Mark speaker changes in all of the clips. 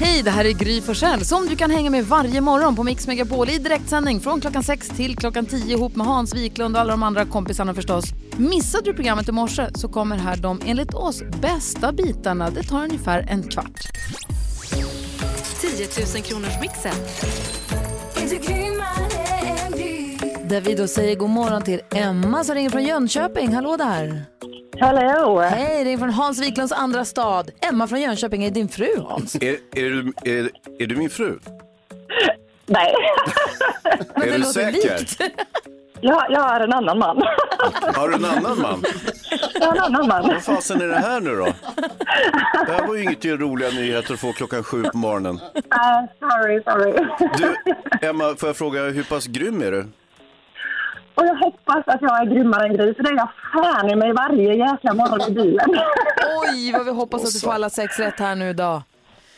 Speaker 1: Hej, det här är Gry Forssell som du kan hänga med varje morgon på Mix Megapol i direktsändning från klockan 6 till klockan 10 ihop med Hans Wiklund och alla de andra kompisarna förstås. Missade du programmet i morse så kommer här de enligt oss bästa bitarna. Det tar ungefär en kvart.
Speaker 2: 10 000 kronors mixen.
Speaker 1: Där vi då säger god morgon till Emma som ringer från Jönköping. Hallå där!
Speaker 3: Hallå!
Speaker 1: Hej, ringer från Hans Wiklunds andra stad. Emma från Jönköping är din fru Hans.
Speaker 4: Är, är, du, är, är du min fru?
Speaker 3: Nej,
Speaker 4: är
Speaker 1: det
Speaker 4: du
Speaker 1: låter
Speaker 4: säker?
Speaker 1: likt.
Speaker 3: jag, jag är en annan man.
Speaker 4: Har du en annan man?
Speaker 3: Jag är en annan man.
Speaker 4: Vad fasen är det här nu då? Det här var ju inget roliga nyheter att få klockan sju på morgonen.
Speaker 3: Uh, sorry, sorry.
Speaker 4: Du, Emma, får jag fråga, hur pass grym är du?
Speaker 3: Och jag hoppas att jag är grymmare än Gry, för det är jag fan i mig varje jäkla morgon i bilen.
Speaker 1: Oj, vad vi hoppas att du får alla sex rätt här nu idag.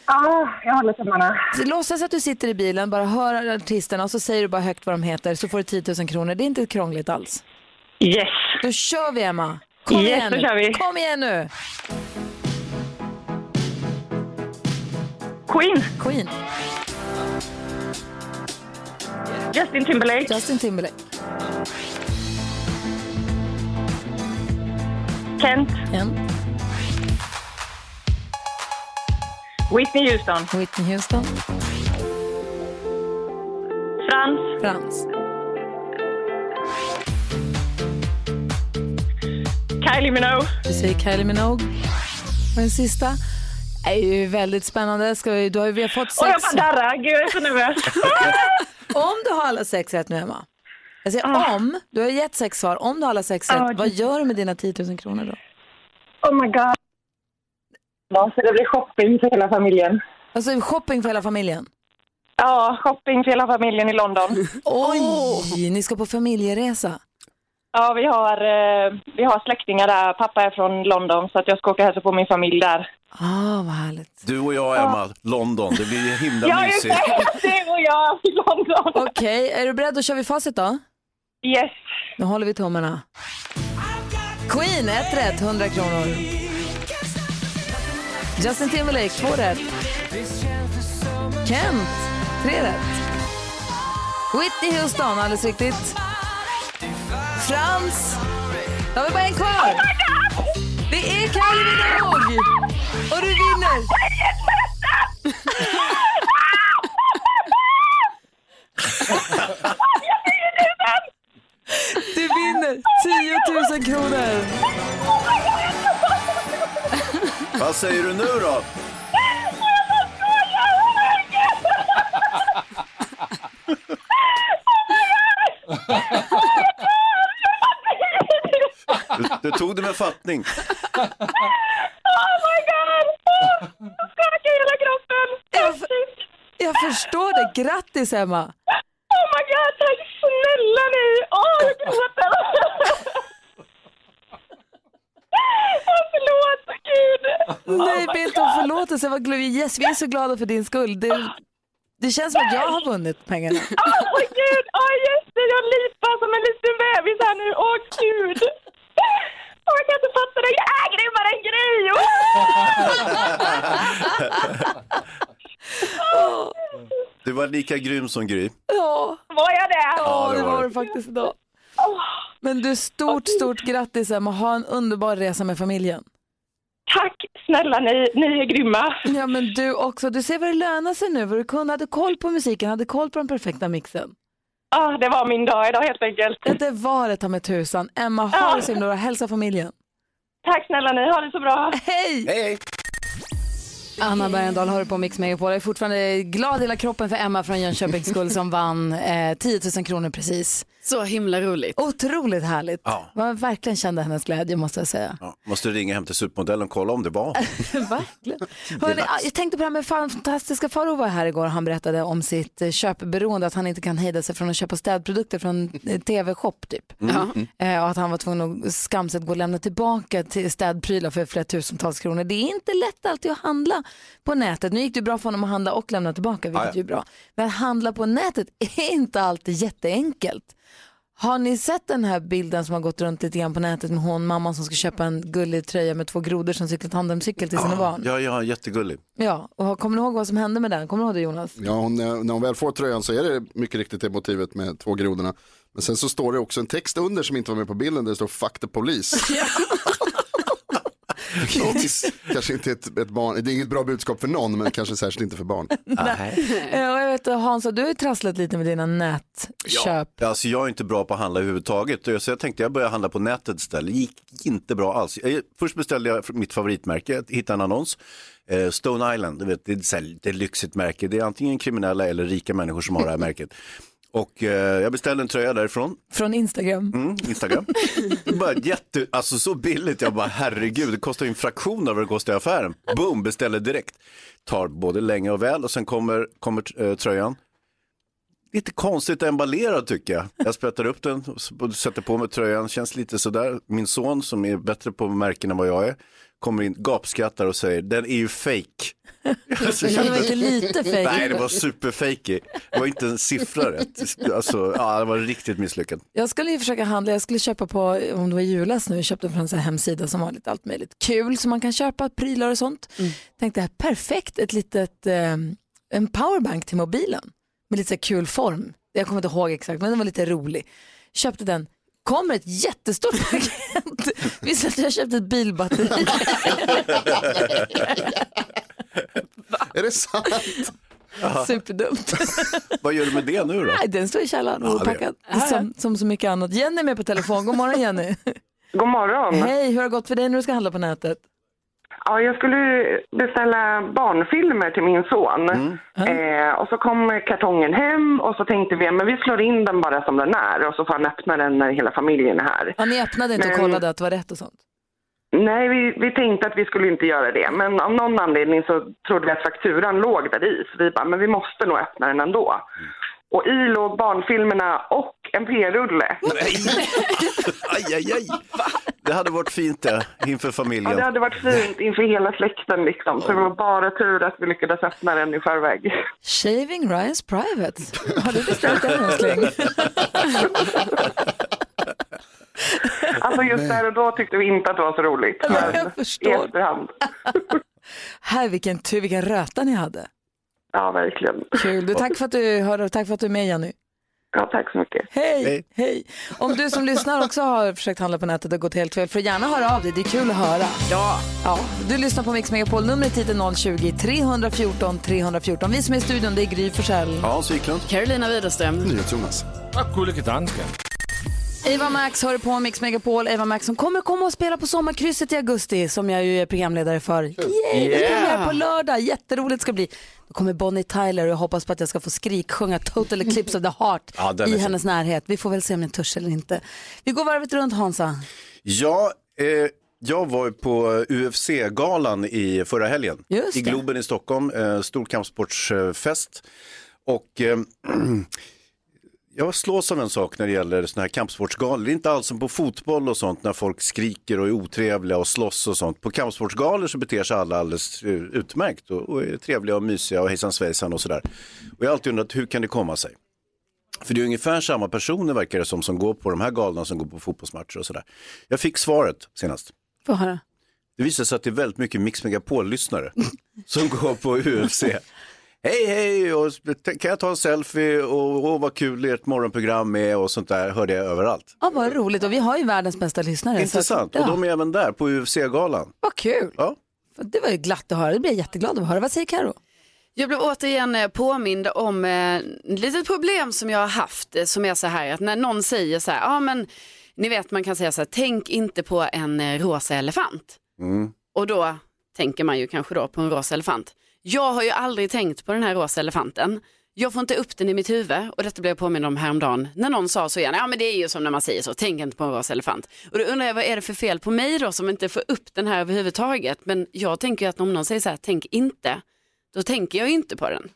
Speaker 3: Ja, jag håller tummarna.
Speaker 1: Låtsas att du sitter i bilen, bara hör artisterna och så säger du bara högt vad de heter så får du 10 000 kronor. Det är inte krångligt alls.
Speaker 3: Yes!
Speaker 1: Då kör vi Emma! Kom
Speaker 3: Yes,
Speaker 1: igen
Speaker 3: då
Speaker 1: nu.
Speaker 3: kör vi.
Speaker 1: Kom igen nu!
Speaker 3: Queen,
Speaker 1: Queen,
Speaker 3: Justin Timberlake,
Speaker 1: Justin Timberlake,
Speaker 3: Kent,
Speaker 1: en,
Speaker 3: Whitney Houston,
Speaker 1: Whitney Houston,
Speaker 3: Frans,
Speaker 1: Frans,
Speaker 3: Kylie Minogue.
Speaker 1: vi säger Kylie Minogue. Och den sista är ju väldigt spännande. Ska vi, du har, ju- vi har fått
Speaker 3: Och jag
Speaker 1: sex.
Speaker 3: bara darrar, gud jag är så nervös.
Speaker 1: Om du har alla sex rätt nu Emma. Jag säger om, du har gett sex svar. Om du har alla sex rätt,
Speaker 3: Ah,
Speaker 1: vad gör du med dina 10 000 kronor då?
Speaker 3: Oh my god. Ja, Så det blir shopping för hela familjen.
Speaker 1: Alltså shopping för hela familjen.
Speaker 3: Ja, shopping för hela familjen i London.
Speaker 1: Oj! Ni ska på familjeresa.
Speaker 3: Ja, vi har, eh, vi har släktingar där. Pappa är från London så att jag ska åka och hälsa på min familj där.
Speaker 1: Ah, vad härligt.
Speaker 4: Du och jag, Emma, London, det blir ju himla
Speaker 3: Ja, just
Speaker 4: mysigt.
Speaker 3: det! Du och jag i London.
Speaker 1: Okej, är du beredd? Då kör vi facit då.
Speaker 3: Yes.
Speaker 1: Nu håller vi tummarna. Queen, ett rätt, 100 kronor. Justin Timberlake, två rätt. Kent, tre rätt. Whitney Houston, alldeles riktigt. Frans, då har vi bara en kvar. Det är Kylie Minogue! Och du vinner! Du vinner 10 000 kronor!
Speaker 4: Vad säger du nu då? Du, du tog det med fattning.
Speaker 3: Oh my god! Åh, Jag skakar i hela kroppen.
Speaker 1: Jag förstår det. Grattis, Emma!
Speaker 3: Oh my god, tack snälla ni! Åh, jag gråter! Åh, Förlåt, gud!
Speaker 1: Nej, be inte om förlåtelse. Vad glad- yes, vi är så glada för din skull. Det, det känns som att jag har vunnit pengarna.
Speaker 3: Åh, gud! Åh, just det! Jag lipar som en liten bebis här nu. Åh, gud! Åh, jag kan inte fatta det. Jag är grymmare än Gry!
Speaker 4: Du var lika grym som Gry.
Speaker 1: Ja,
Speaker 3: Var jag det?
Speaker 1: ja det
Speaker 4: det var
Speaker 1: var
Speaker 4: det.
Speaker 1: det faktiskt idag. Men du, stort, stort grattis Emma. Ha en underbar resa med familjen.
Speaker 3: Tack snälla ni, ni är grymma.
Speaker 1: Ja, men du också. Du ser vad det lönar sig nu. Vad du kunde, hade koll på musiken, hade koll på den perfekta mixen.
Speaker 3: Ah, det var min dag idag helt enkelt.
Speaker 1: Ja, Det var det ta mig tusan. Emma, ha det så himla bra. Hälsa familjen.
Speaker 3: Tack snälla ni, ha det så bra.
Speaker 1: Hej!
Speaker 4: Hej, hej.
Speaker 1: Anna Bergendahl hör på Mix Megapol. Jag är fortfarande glad i hela kroppen för Emma från Jönköpings skull som vann eh, 10 000 kronor precis.
Speaker 2: Så himla roligt.
Speaker 1: Otroligt härligt.
Speaker 4: Ja.
Speaker 1: Man verkligen kände hennes glädje måste jag säga.
Speaker 4: Ja, måste ringa hem till supermodellen och kolla om det var
Speaker 1: verkligen. Hörrni, ah, jag tänkte på det här med fan- fantastiska Farao var här igår och han berättade om sitt eh, köpberoende, att han inte kan hejda sig från att köpa städprodukter från eh, tv-shop typ. Eh, och att han var tvungen att skamset gå och lämna tillbaka till städprylar för flera tusentals kronor. Det är inte lätt alltid att handla på nätet. Nu gick det ju bra för honom att handla och lämna tillbaka, vilket
Speaker 4: Ah, ja.
Speaker 1: ju är bra. Men att handla på nätet är inte alltid jätteenkelt. Har ni sett den här bilden som har gått runt lite grann på nätet med hon, mamman som ska köpa en gullig tröja med två grodor som cyklar tandemcykel till sina barn?
Speaker 4: Ja, ja, jättegullig.
Speaker 1: Ja, och kommer ni ihåg vad som hände med den? Kommer du ihåg det Jonas?
Speaker 5: Ja, hon, eh, när hon väl får tröjan så är det mycket riktigt det motivet med två grodorna. Men sen så står det också en text under som inte var med på bilden där det står fuck the police. Vilket kanske inte är ett, ett barn, det är inget bra budskap för någon men kanske särskilt inte för barn.
Speaker 4: Äh.
Speaker 1: Eh, Och jag vet att Hans, du har ju trasslat lite med dina nätköp.
Speaker 4: Alltså jag är inte bra på att handla överhuvudtaget. Så jag tänkte jag börjar handla på nätet istället. Det gick inte bra alls. Jag, först beställde jag mitt favoritmärke, jag hittade en annons. Eh, Stone Island, du vet, det, är så här, det är ett lyxigt märke. Det är antingen kriminella eller rika människor som har det här märket. Och eh, jag beställde en tröja därifrån,
Speaker 1: Från Instagram.
Speaker 4: mm, Instagram. Det var jätte, alltså så billigt, jag bara herregud, det kostar ju en fraktion av vad det kostar i affären. Boom, beställer direkt. Tar både länge och väl och sen kommer, kommer eh, tröjan. Lite konstigt emballerad tycker jag. Jag sprättar upp den och s- och sätter på mig tröjan, känns lite sådär. Min son som är bättre på märken än vad jag är, kommer in, gapskrattar och säger den är ju fake. Alltså,
Speaker 1: Det var inte lite
Speaker 4: Nej,
Speaker 1: fejk.
Speaker 4: det var superfejkig. Det var inte en siffra rätt. Alltså, ja, det var riktigt misslyckat.
Speaker 1: Jag skulle ju försöka handla, jag skulle köpa på, om det var i julas nu, jag köpte från en sån här hemsida som har lite allt möjligt kul som man kan köpa, prylar och sånt.
Speaker 4: Mm.
Speaker 1: Tänkte här, perfekt, ett litet, eh, en powerbank till mobilen med lite så här kul form. Jag kommer inte ihåg exakt, men den var lite rolig. Köpte den, kommer ett jättestort paket. Visst att jag köpte ett bilbatteri.
Speaker 5: Är det sant?
Speaker 1: Superdumt.
Speaker 4: Vad gör du med det nu då?
Speaker 1: Nej, den står i källaren
Speaker 4: Ja, det-
Speaker 1: opackad. Som, som så mycket annat. Jenny är med på telefon. God morgon Jenny.
Speaker 6: God morgon.
Speaker 1: Hej, hur har det gått för dig när du ska handla på nätet?
Speaker 6: Ja, jag skulle beställa barnfilmer till min son.
Speaker 3: Mm.
Speaker 6: Eh, och så kom kartongen hem och så tänkte vi men vi slår in den bara som den är och så får han öppna den när hela familjen är här.
Speaker 1: Ja, ni öppnade inte och
Speaker 6: Men-
Speaker 1: kollade att det var rätt och sånt?
Speaker 6: Nej, vi, vi tänkte att vi skulle inte göra det men av någon anledning så trodde vi att fakturan låg där i så vi bara, men vi måste nog öppna den ändå. Och i låg barnfilmerna och en p-rulle.
Speaker 4: Nej! Aj, aj, aj. Det hade varit fint det, inför
Speaker 6: Ja, det
Speaker 4: familjen.
Speaker 6: hade varit fint inför hela släkten liksom så det var bara tur att vi lyckades öppna den i förväg.
Speaker 1: Shaving Ryan's Private. Har du beställt den älskling?
Speaker 6: Alltså just där och då tyckte vi inte att det var så roligt.
Speaker 1: Nej,
Speaker 6: men
Speaker 1: jag förstår.
Speaker 6: I efterhand.
Speaker 1: Här, vilken tur, vilken röta ni hade.
Speaker 6: Ja, verkligen.
Speaker 1: Kul. Du, tack, för att du hörde, och tack för att du är med Jenny.
Speaker 6: Ja, tack så mycket.
Speaker 1: Hej, hej.
Speaker 4: Hej.
Speaker 1: Om du som lyssnar också har försökt handla på nätet och gått helt fel, får du gärna höra av dig. Det är kul att höra. Ja. ja. Du lyssnar på Mix Megapol. Numret hit är 020-314 314. Vi som är i studion, det är Gry Forssell.
Speaker 4: Hans Wiklund.
Speaker 2: Carolina Widerström.
Speaker 5: Jonas.
Speaker 1: Eva Max hör på Mix Megapol. Eva Max som kommer komma och spela på Sommarkrysset i augusti som jag ju är programledare för. Yay! Det är premiär på lördag. Jätteroligt ska det bli. Då kommer Bonnie Tyler och jag hoppas på att jag ska få skriksjunga Total Eclipse of the Heart
Speaker 4: Ja, den är
Speaker 1: i
Speaker 4: fin.
Speaker 1: hennes närhet. Vi får väl se om ni törs eller inte. Vi går varvet runt Hansa.
Speaker 4: Ja, eh, jag var ju på UFC-galan i förra helgen.
Speaker 1: Just
Speaker 4: I
Speaker 1: det.
Speaker 4: Globen i Stockholm, eh, stor kampsportsfest. Och eh, jag slås av en sak när det gäller såna här kampsportsgalor. Det är inte alls som på fotboll och sånt när folk skriker och är otrevliga och slåss och sånt. På kampsportsgalor så beter sig alla alldeles eh, utmärkt och, och är trevliga och mysiga och hejsan svejsan och sådär. Och jag har alltid undrat hur kan det komma sig? För det är ungefär samma personer verkar det som som går på de här galorna som går på fotbollsmatcher och sådär. Jag fick svaret senast.
Speaker 1: Får jag höra.
Speaker 4: Det visar sig att det är väldigt mycket Mix Megapol-lyssnare som går på UFC. Hej hej, och kan jag ta en selfie och åh vad kul ert morgonprogram är och sånt där hörde jag överallt.
Speaker 1: Ja, vad roligt. Och vi har ju världens bästa lyssnare.
Speaker 4: Intressant,
Speaker 1: Så att,
Speaker 4: och
Speaker 1: ja,
Speaker 4: de är även där på UFC-galan.
Speaker 1: Vad kul.
Speaker 4: Ja.
Speaker 1: Det var ju glatt att höra. Det blir jag jätteglad av att höra. Vad säger Karo?
Speaker 2: Jag blev återigen eh, påmind om eh, ett litet problem som jag har haft eh, som är så här att när någon säger så här, ja men ni vet man kan säga så här, tänk inte på en eh, rosa elefant. Och då tänker man ju kanske då på en rosa elefant. Jag har ju aldrig tänkt på den här rosa elefanten. Jag får inte upp den i mitt huvud och detta blev jag påmind om häromdagen när någon sa så igen, ja men det är ju som när man säger så, tänk inte på en rosa elefant. Och då undrar jag vad är det för fel på mig då som inte får upp den här överhuvudtaget. Men jag tänker ju att om någon säger så här, tänk inte, då tänker jag ju inte på den.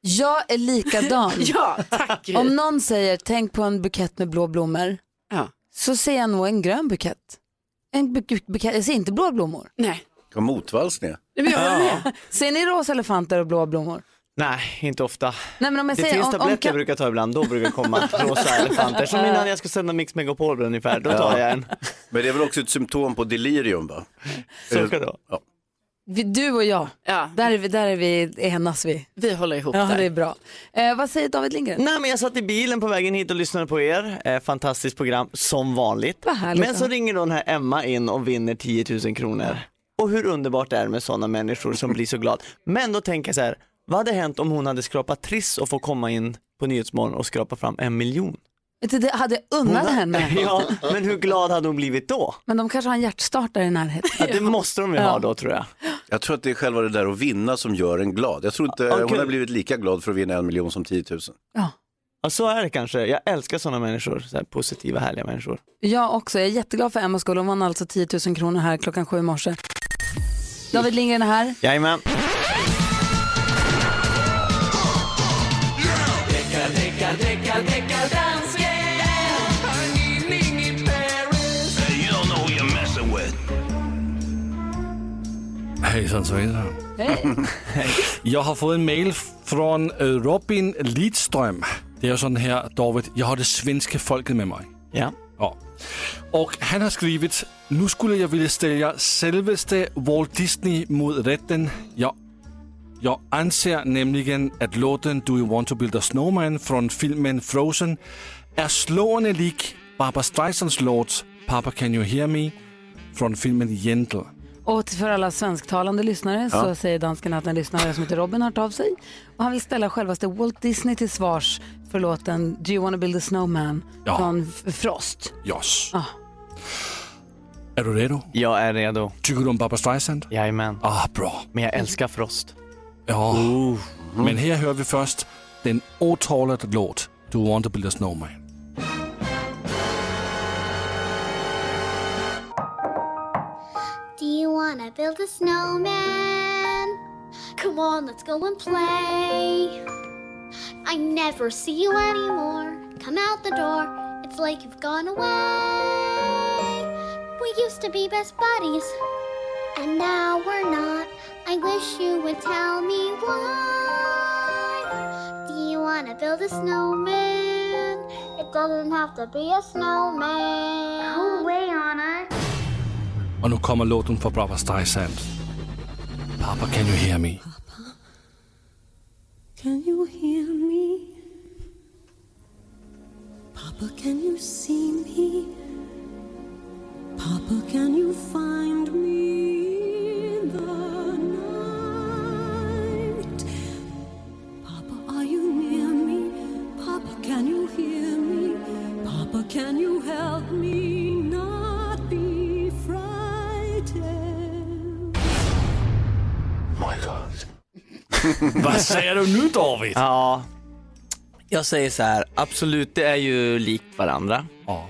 Speaker 1: Jag är likadan.
Speaker 2: Mm. Ja, tack Gry.
Speaker 1: Om någon säger tänk på en bukett med blå blommor
Speaker 2: ja.
Speaker 1: så ser jag nog en grön bukett. En bu- bu- bukett. Jag ser inte blå blommor.
Speaker 2: Nej,
Speaker 4: Vad motvalls ni är.
Speaker 2: Nej, men jag håller med.
Speaker 1: Ser ni rosa elefanter och blå blommor?
Speaker 7: Nej, inte ofta.
Speaker 1: Nej, men om jag
Speaker 7: det
Speaker 1: säger-
Speaker 7: finns
Speaker 1: om- om
Speaker 7: tabletter
Speaker 1: ka-
Speaker 7: jag brukar ta ibland, då brukar det komma rosa elefanter. Som innan jag ska sända Mix Megapol ungefär, då tar jag en.
Speaker 4: Men det är väl också ett symptom på delirium va?
Speaker 7: Så ska det vara.
Speaker 4: Ja.
Speaker 1: Vi- Du och jag,
Speaker 2: Ja,
Speaker 1: där, är vi, där är vi, enas vi.
Speaker 2: vi håller ihop
Speaker 1: Ja,
Speaker 2: där.
Speaker 1: det är bra. Eh, vad säger David Lindgren?
Speaker 7: Nej men jag satt i bilen på vägen hit och lyssnade på er, eh, fantastiskt program som vanligt.
Speaker 1: Vad härligt,
Speaker 7: men så
Speaker 1: ja.
Speaker 7: ringer då den här Emma in och vinner 10 000 kronor. Och hur underbart det är med sådana människor som blir så glad. Men då tänker jag så här, vad hade hänt om hon hade skrapat triss och får komma in på Nyhetsmorgon och skrapa fram en miljon?
Speaker 1: Det- Det hade jag unnat henne.
Speaker 7: Ja, men hur glad hade hon blivit då?
Speaker 1: Men de kanske har en hjärtstartare i närheten.
Speaker 7: Ja, det måste de ju ha då tror jag.
Speaker 4: Jag tror att det är själva det där att vinna som gör en glad. Jag tror inte
Speaker 7: Ja,
Speaker 4: hon
Speaker 7: kul.
Speaker 4: har blivit lika glad för att vinna en miljon som 10 000.
Speaker 1: Ja.
Speaker 7: Ja, så är det kanske. Jag älskar sådana människor, så här positiva härliga människor.
Speaker 1: Jag också. Jag är jätteglad för Emmas skull. Hon vann alltså 10 000 kronor här klockan sju i morse. David Lindgren är här.
Speaker 7: Jajamän.
Speaker 8: Hejsan svejsan. Jag har fått en mail från eh, Robin Lidström. Det är ju sån här David, jag har det svenska folket med mig.
Speaker 7: Ja.
Speaker 8: Ja. Och han har skrivit, nu skulle jag vilja ställa självaste Walt Disney mot rätten. Jag, jag anser nämligen att låten Do You Want To Build A Snowman från filmen Frozen är slående lik Barbra Streisands låt Papa Can You Hear Me från filmen Gentle.
Speaker 1: Och till- för alla svensktalande lyssnare så säger dansken att en lyssnare som heter Robin har hört av sig. Och han vill ställa självaste Walt Disney till svars för låten Do You Wanna Build A Snowman
Speaker 8: Ja.
Speaker 1: från F- Frost.
Speaker 8: Yes.
Speaker 1: Ah.
Speaker 8: Är du redo?
Speaker 7: Jag är redo.
Speaker 8: Tycker du om Barbra Streisand?
Speaker 7: Jajamän.
Speaker 8: Ah, bra.
Speaker 7: Men jag älskar Frost.
Speaker 8: Ja. Men här hör vi först den åtalade låt Do You Want To Build A Snowman.
Speaker 9: Do you wanna build a snowman? Come on, let's go and play. I never see you anymore. Come out the door, it's like you've gone away. We used to be best buddies, and now we're not. I wish you would tell me why. Do you wanna build a snowman? It doesn't have to be a snowman. Go away, Anna.
Speaker 8: Och nu kommer låten för Barbra Streisand. Papa Can You Hear Me?
Speaker 10: Can you hear me? Papa, can you see me? Papa, can you find me in the night? Papa, are you near me? Papa, can you hear me? Papa, can you help me not be frightened?
Speaker 8: Vad säger du nu David?
Speaker 7: Ja. Jag säger så här, absolut det är ju likt varandra.
Speaker 8: Ja.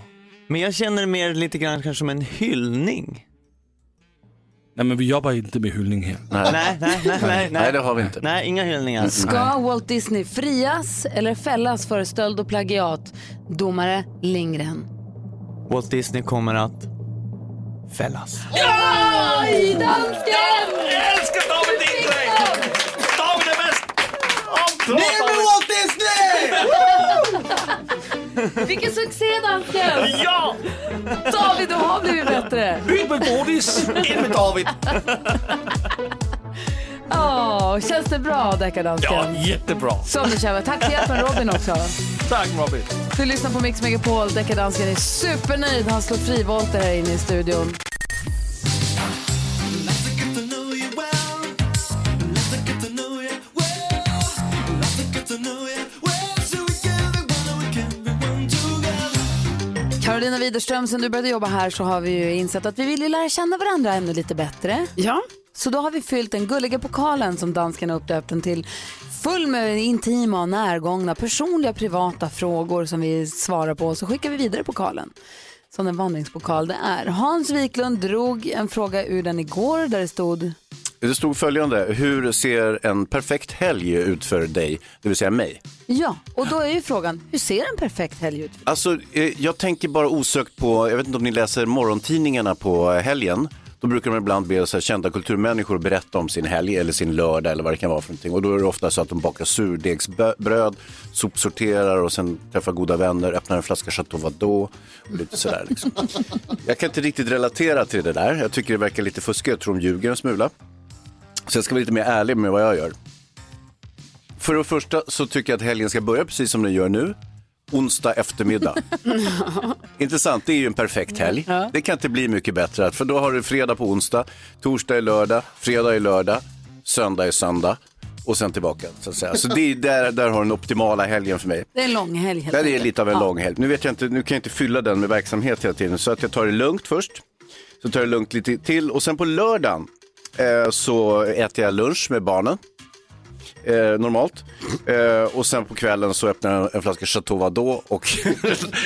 Speaker 7: Men jag känner det mer lite grann kanske som en hyllning.
Speaker 8: Nej men vi jobbar inte med hyllning här.
Speaker 7: Nej, nej, nej, nej.
Speaker 4: Nej, det har vi inte.
Speaker 7: Nej, inga hyllningar.
Speaker 1: Ska Walt Disney frias eller fällas för stöld och plagiat? Domare Lindgren.
Speaker 7: Walt Disney kommer att fällas.
Speaker 1: Oj, dansken!
Speaker 8: Älskar David Lindgren! David är bäst!
Speaker 7: Walt Disney!
Speaker 1: Vilken succé, dansken!
Speaker 8: Ja!
Speaker 1: David, du har blivit bättre.
Speaker 8: Ut med godis, in med David!
Speaker 1: Åh, känns det bra, deckardansken?
Speaker 8: Ja, jättebra.
Speaker 1: Som du känner. Tack för hjälpen, Robin också.
Speaker 8: Tack Robin.
Speaker 1: Du lyssnar på Mix Megapol. Deckardansken är supernöjd. Han slog frivolter här inne i studion. Carolina Widerström, sen du började jobba här så har vi ju insett att vi vill ju lära känna varandra ännu lite bättre.
Speaker 2: Ja,
Speaker 1: Så då har vi fyllt den gulliga pokalen som dansken har uppdöpt den till full med intima och närgångna personliga privata frågor som vi svarar på och så skickar vi vidare pokalen. Som den vandringspokal det är. Hans Wiklund drog en fråga ur den igår där det stod
Speaker 4: Det stod följande, hur ser en perfekt helg ut för dig, det vill säga mig?
Speaker 1: ja, och då är ju frågan hur ser en perfekt helg ut?
Speaker 4: Alltså, eh, jag tänker bara osökt på, jag vet inte om ni läser morgontidningarna på helgen. Då brukar de ibland be så här, kända kulturmänniskor att berätta om sin helg eller sin lördag eller vad det kan vara för någonting. Och då är det ofta så att de bakar surdegsbröd, sopsorterar och sen träffar goda vänner, öppnar en flaska Chateau Vadot och lite sådär. Liksom. Jag kan inte riktigt relatera till det där. Jag tycker det verkar lite fuskigt. Jag tror de ljuger en smula. Så jag ska vara lite mer ärlig med vad jag gör. För det första så tycker jag att helgen ska börja precis som den gör nu. Onsdag eftermiddag. Intressant, det är ju en perfekt helg. Det kan inte bli mycket bättre. För då har du fredag på onsdag, torsdag är lördag, fredag är lördag, söndag är söndag och sen tillbaka. Så, att säga. så det är där, där har du den optimala helgen för mig.
Speaker 1: Det är en lång helg helt
Speaker 4: Ja, det är
Speaker 1: enkelt.
Speaker 4: lite av en
Speaker 1: Ja.
Speaker 4: lång helg. Nu, vet jag inte, nu kan jag inte fylla den med verksamhet hela tiden, så att jag tar det lugnt först. Så tar jag det lugnt lite till och sen på lördagen eh, så äter jag lunch med barnen. Eh, normalt. Eh, och sen på kvällen så öppnar jag en flaska Chateau Vadot och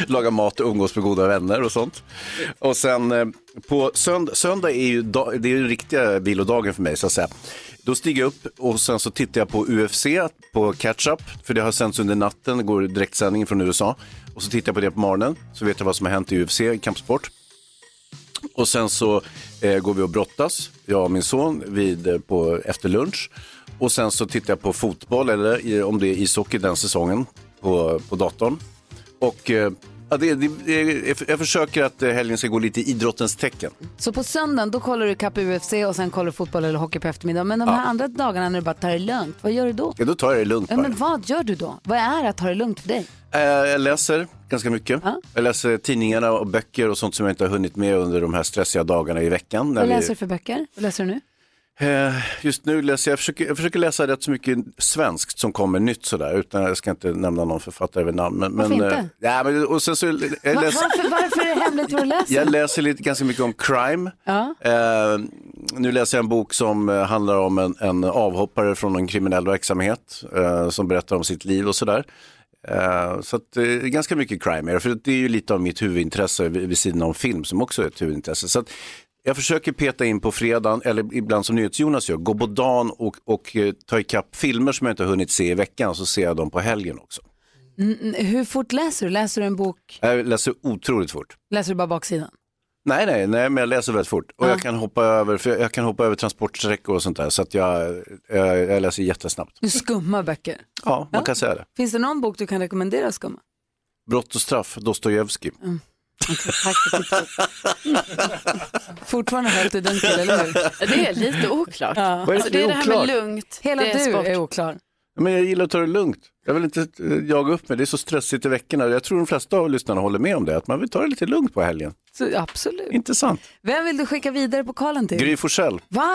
Speaker 4: lagar mat och umgås med goda vänner och sånt. Och sen eh, på sönd- söndag är ju da- det är ju den riktiga vilodagen för mig så att säga. Då stiger jag upp och sen så tittar jag på UFC på catch-up, för det har sänts under natten, det går direktsändning från USA. Och så tittar jag på det på morgonen, så vet jag vad som har hänt i UFC, i kampsport. Och sen så eh, går vi och brottas, jag och min son, vid, eh, på, efter lunch. Och sen så tittar jag på fotboll, eller i- om det är ishockey den säsongen, på, på datorn. Och eh, ja, det, det, det, jag försöker att eh, helgen ska gå lite i idrottens tecken.
Speaker 1: Så på söndagen då kollar du kapp UFC och sen kollar du fotboll eller hockey på eftermiddagen. Men de här andra dagarna när du bara tar det lugnt, vad gör du då?
Speaker 4: Ja, då tar jag det lugnt
Speaker 1: Ja,
Speaker 4: bara.
Speaker 1: men vad gör du då? Vad är att ta det lugnt för dig?
Speaker 4: Eh, Jag läser ganska mycket. Jag läser tidningarna och böcker och sånt som jag inte har hunnit med under de här stressiga dagarna i veckan.
Speaker 1: Vad
Speaker 4: vi-
Speaker 1: läser du för böcker? Vad läser du nu?
Speaker 4: Eh, Just nu läser jag, försöker, jag försöker läsa rätt så mycket svenskt som kommer nytt sådär, utan jag ska inte nämna någon författare vid namn. Men, men,
Speaker 1: Varför
Speaker 4: eh,
Speaker 1: inte?
Speaker 4: Ja, men, och sen så, jag,
Speaker 1: Va-
Speaker 4: läser,
Speaker 1: varför, varför är det hemligt vad du läser?
Speaker 4: jag läser lite, ganska mycket om crime.
Speaker 1: Ja.
Speaker 4: Eh, nu läser jag en bok som eh, handlar om en, en avhoppare från en kriminell verksamhet eh, som berättar om sitt liv och sådär. Eh, så att, eh, ganska mycket crime är det, för det är ju lite av mitt huvudintresse vid, vid sidan om film som också är ett huvudintresse. Så att, jag försöker peta in på fredagen, eller ibland som NyhetsJonas gör, gå på dagen och, och eh, ta ikapp filmer som jag inte har hunnit se i veckan, så ser jag dem på helgen också.
Speaker 1: Mm, mm, hur fort läser du? Läser du en bok?
Speaker 4: Jag läser otroligt fort.
Speaker 1: Läser du bara baksidan?
Speaker 4: Nej, nej, nej, men jag läser väldigt fort. Och jag, kan hoppa över, för jag, jag kan hoppa över transportsträckor och sånt där. Så att jag, eh, jag, jag läser jättesnabbt.
Speaker 1: Du skummar böcker.
Speaker 4: Ja, man kan säga det.
Speaker 1: Finns det någon bok du kan rekommendera att skumma?
Speaker 4: Brott och straff, Dostojevskij.
Speaker 1: Tack för tipset. Fortfarande helt i dunkel, eller hur?
Speaker 2: Det är lite oklart.
Speaker 1: Ja.
Speaker 4: Vad är det
Speaker 2: Alltså,
Speaker 4: för
Speaker 2: det är det
Speaker 4: oklart?
Speaker 2: här med lugnt.
Speaker 1: Hela
Speaker 2: det
Speaker 1: du
Speaker 2: sport.
Speaker 1: är oklar.
Speaker 4: Men jag gillar att ta det lugnt. Jag vill inte eh, jaga upp mig, det är så stressigt i veckorna. Jag tror de flesta av lyssnarna håller med om det, att man vill ta det lite lugnt på helgen.
Speaker 1: Så, absolut.
Speaker 4: Intressant.
Speaker 1: Vem vill du skicka vidare pokalen till?
Speaker 4: Gry Forssell,
Speaker 1: Va?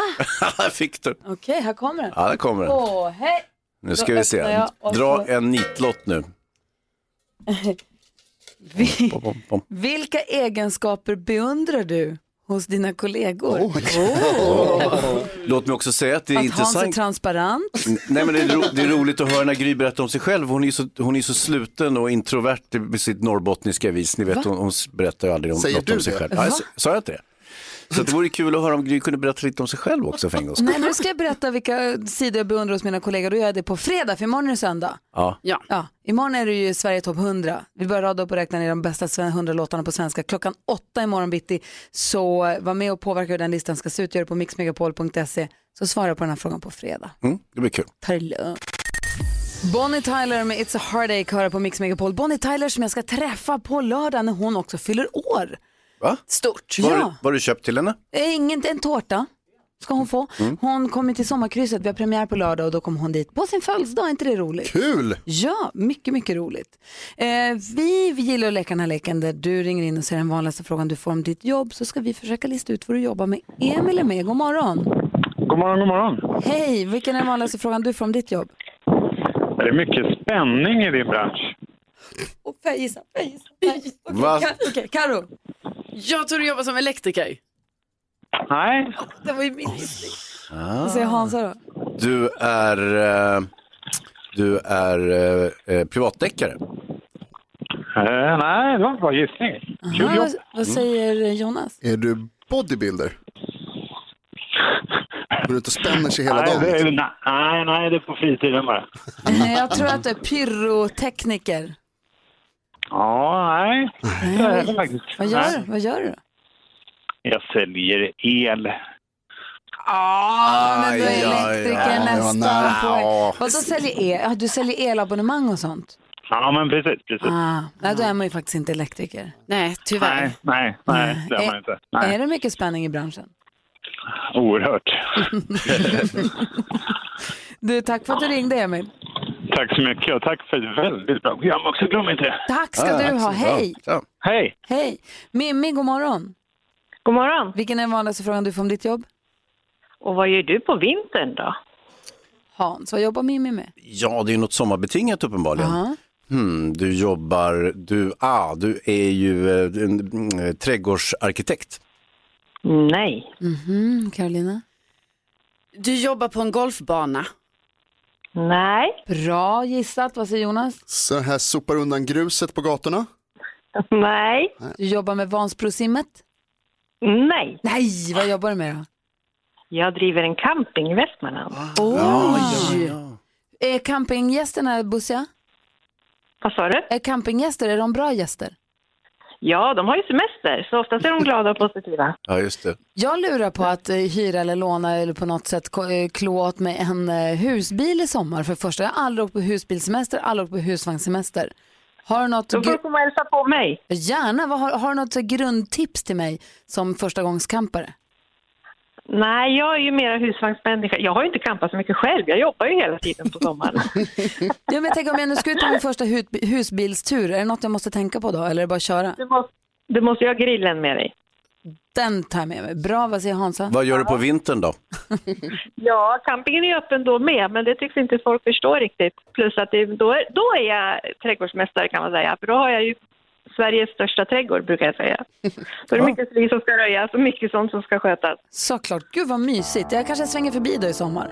Speaker 4: Där fick du.
Speaker 1: Okej, här kommer den.
Speaker 4: Ja, där kommer den.
Speaker 1: Åh, hej!
Speaker 4: Nu
Speaker 1: då
Speaker 4: ska vi
Speaker 1: öppnar
Speaker 4: se.
Speaker 1: jag och-
Speaker 4: Dra en nitlott nu.
Speaker 1: Vi,
Speaker 4: Pom, pom, pom.
Speaker 1: vilka egenskaper beundrar du hos dina kollegor?
Speaker 4: Låt mig också säga att det är
Speaker 1: Att Hans är
Speaker 4: intressant.
Speaker 1: transparent?
Speaker 4: Nej, men det, är ro, det är roligt att höra när Gry berättar om sig själv. Hon är ju så, hon är så sluten och introvert med sitt norrbottniska vis. Ni vet, hon, hon berättar ju aldrig om,
Speaker 5: Säger
Speaker 4: något
Speaker 5: du
Speaker 4: om sig
Speaker 5: det?
Speaker 4: själv. Ja, jag sa- sa jag inte det? Så att det vore kul att höra om Gry kunde berätta lite om sig själv också för en gångs skull.
Speaker 1: Nej, nu ska jag berätta vilka sidor jag beundrar hos mina kollegor. Då gör jag det på fredag, för imorgon är det söndag.
Speaker 4: Ja.
Speaker 2: Ja.
Speaker 1: Ja, imorgon är det ju Sverige topp 100. Vi börjar rada upp och räkna ner de bästa sven- 100 låtarna på svenska. Klockan åtta imorgon bitti. Så eh, var med och påverka hur den listan ska se ut. Gör det på mixmegapol.se. Så svarar jag på den här frågan på fredag.
Speaker 4: Mm, det blir kul.
Speaker 1: Ta det lugnt. Bonnie Tyler med It's a Heartache hör jag på Mix Megapol. Bonnie Tyler som jag ska träffa på lördag när hon också fyller år.
Speaker 4: Va?
Speaker 1: Stort.
Speaker 4: Vad har
Speaker 1: Ja,
Speaker 4: du- vad har du köpt till henne?
Speaker 1: Eh, ingen, en tårta ska hon få. Hon kommer till sommarkrysset, vi har premiär på lördag och då kommer hon dit på sin födelsedag. Är inte det roligt?
Speaker 5: Kul!
Speaker 1: Ja, mycket, mycket roligt. Eh, vi, vi gillar att leka den här leken där du ringer in och säger den vanligaste frågan du får om ditt jobb så ska vi försöka lista ut vad du jobbar med. Emil är med, god morgon.
Speaker 11: God morgon, god morgon.
Speaker 1: Hej, vilken är den vanligaste frågan du får om ditt jobb?
Speaker 11: Är det mycket spänning i din bransch?
Speaker 1: Och får jag gissa? Får jag gissa? Får jag gissa? Okej,
Speaker 4: Va?
Speaker 1: Ka- okej, Karo.
Speaker 2: Jag tror du jobbar som elektriker.
Speaker 11: Nej,
Speaker 1: Det var ju min gissning. Vad säger Hansa då?
Speaker 4: Du är, eh, du är eh, eh, privatdeckare.
Speaker 11: eh, nej det var en bra gissning.
Speaker 1: Aha, vad, vad säger Jonas?
Speaker 5: Är du bodybuilder? Går du ut och spänner sig hela
Speaker 11: Nej,
Speaker 5: dagen?
Speaker 11: det, nej, nej, nej, det är på fritiden bara.
Speaker 1: Eh, Jag tror att du är pyrotekniker.
Speaker 11: Ja, nej. Det är det faktiskt.
Speaker 1: Vad gör
Speaker 11: Nej.
Speaker 1: du? Vad gör du? då?
Speaker 7: Jag säljer el.
Speaker 1: Ah, men då
Speaker 7: Aj,
Speaker 1: är
Speaker 7: aj,
Speaker 1: elektrikern
Speaker 7: aj.
Speaker 1: nästan
Speaker 7: Ja,
Speaker 1: på...
Speaker 7: nej.
Speaker 1: Vadå säljer el? Ja, du säljer elabonnemang och sånt?
Speaker 7: Ja, men precis. precis.
Speaker 1: Ah, nej, då är man ju faktiskt inte elektriker. Nej,
Speaker 7: Nej, nej, nej, det är man inte. Nej.
Speaker 1: Är det mycket spänning i branschen?
Speaker 7: Oerhört.
Speaker 1: Du, tack för att du ringde, Emil.
Speaker 7: Tack så mycket och tack för ett väldigt bra program också. Glöm inte det.
Speaker 1: Tack ska du ha. Hej!
Speaker 7: Hej!
Speaker 1: Hej! Mimmi, god morgon.
Speaker 6: God morgon.
Speaker 1: Vilken är den vanligaste frågan du får om ditt jobb?
Speaker 6: Och vad gör du på vintern då?
Speaker 1: Hans, vad jobbar Mimmi med?
Speaker 4: Ja, det är något sommarbetingat uppenbarligen. Hmm, du jobbar, du, ah, du är ju eh, en, mm, trädgårdsarkitekt.
Speaker 6: Nej.
Speaker 1: Mhm, Carolina?
Speaker 12: Du jobbar på en golfbana.
Speaker 6: Nej.
Speaker 1: Bra gissat. Vad säger Jonas?
Speaker 5: Så här sopar undan gruset på gatorna?
Speaker 6: Nej.
Speaker 1: Du jobbar med Vansbrosimmet?
Speaker 6: Nej.
Speaker 1: Nej, vad jobbar du med då?
Speaker 6: Jag driver en camping i Västmanland.
Speaker 1: Oj! Är campinggästerna bussiga?
Speaker 6: Vad sa du?
Speaker 1: Är campinggäster, är de bra gäster?
Speaker 6: Ja, de har ju semester, så oftast är de glada och positiva.
Speaker 4: Ja, just det.
Speaker 1: Jag lurar på att eh, hyra eller låna eller på något sätt ko- eh, klå åt mig en eh, husbil i sommar för första. Jag har aldrig åkt på husbilsemester, aldrig åkt på husvagnssemester. Har du något...
Speaker 6: Då får du
Speaker 1: gru-
Speaker 6: komma och hälsa på mig.
Speaker 1: Gärna. Vad har, har du något så här grundtips till mig som förstagångscampare?
Speaker 6: Nej, jag är ju mera husvagnsmänniska. Jag har ju inte campat så mycket själv. Jag jobbar ju hela tiden på sommaren.
Speaker 1: Ja, men jag tänker om jag nu ska ut på min första hu- husbilstur, är det något jag måste tänka på då eller är det bara att köra?
Speaker 6: Du måste, du måste ju ha grillen med dig.
Speaker 1: Den tar jag med mig. Bra, vad säger Hansa?
Speaker 4: Vad gör du på vintern då?
Speaker 6: Ja, campingen är ju öppen då med, men det tycks inte folk förstå riktigt. Plus att det, då, är, då är jag trädgårdsmästare kan man säga, för då har jag ju Sveriges största trädgård brukar jag säga. Då är det mycket sly som ska röjas och mycket sånt som ska skötas.
Speaker 1: Såklart. Gud vad mysigt. Jag kanske svänger förbi då i sommar.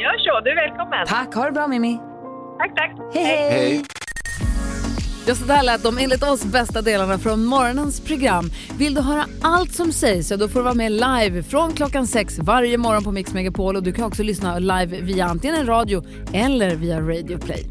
Speaker 6: Gör så, du är välkommen.
Speaker 1: Tack, ha det bra Mimmi.
Speaker 6: Tack, tack.
Speaker 1: Hej, hej. Ja, så där lät de enligt oss bästa delarna från morgonens program. Vill du höra allt som sägs så då får du vara med live från klockan sex varje morgon på Mix Megapol och du kan också lyssna live via antingen en radio eller via Radio Play.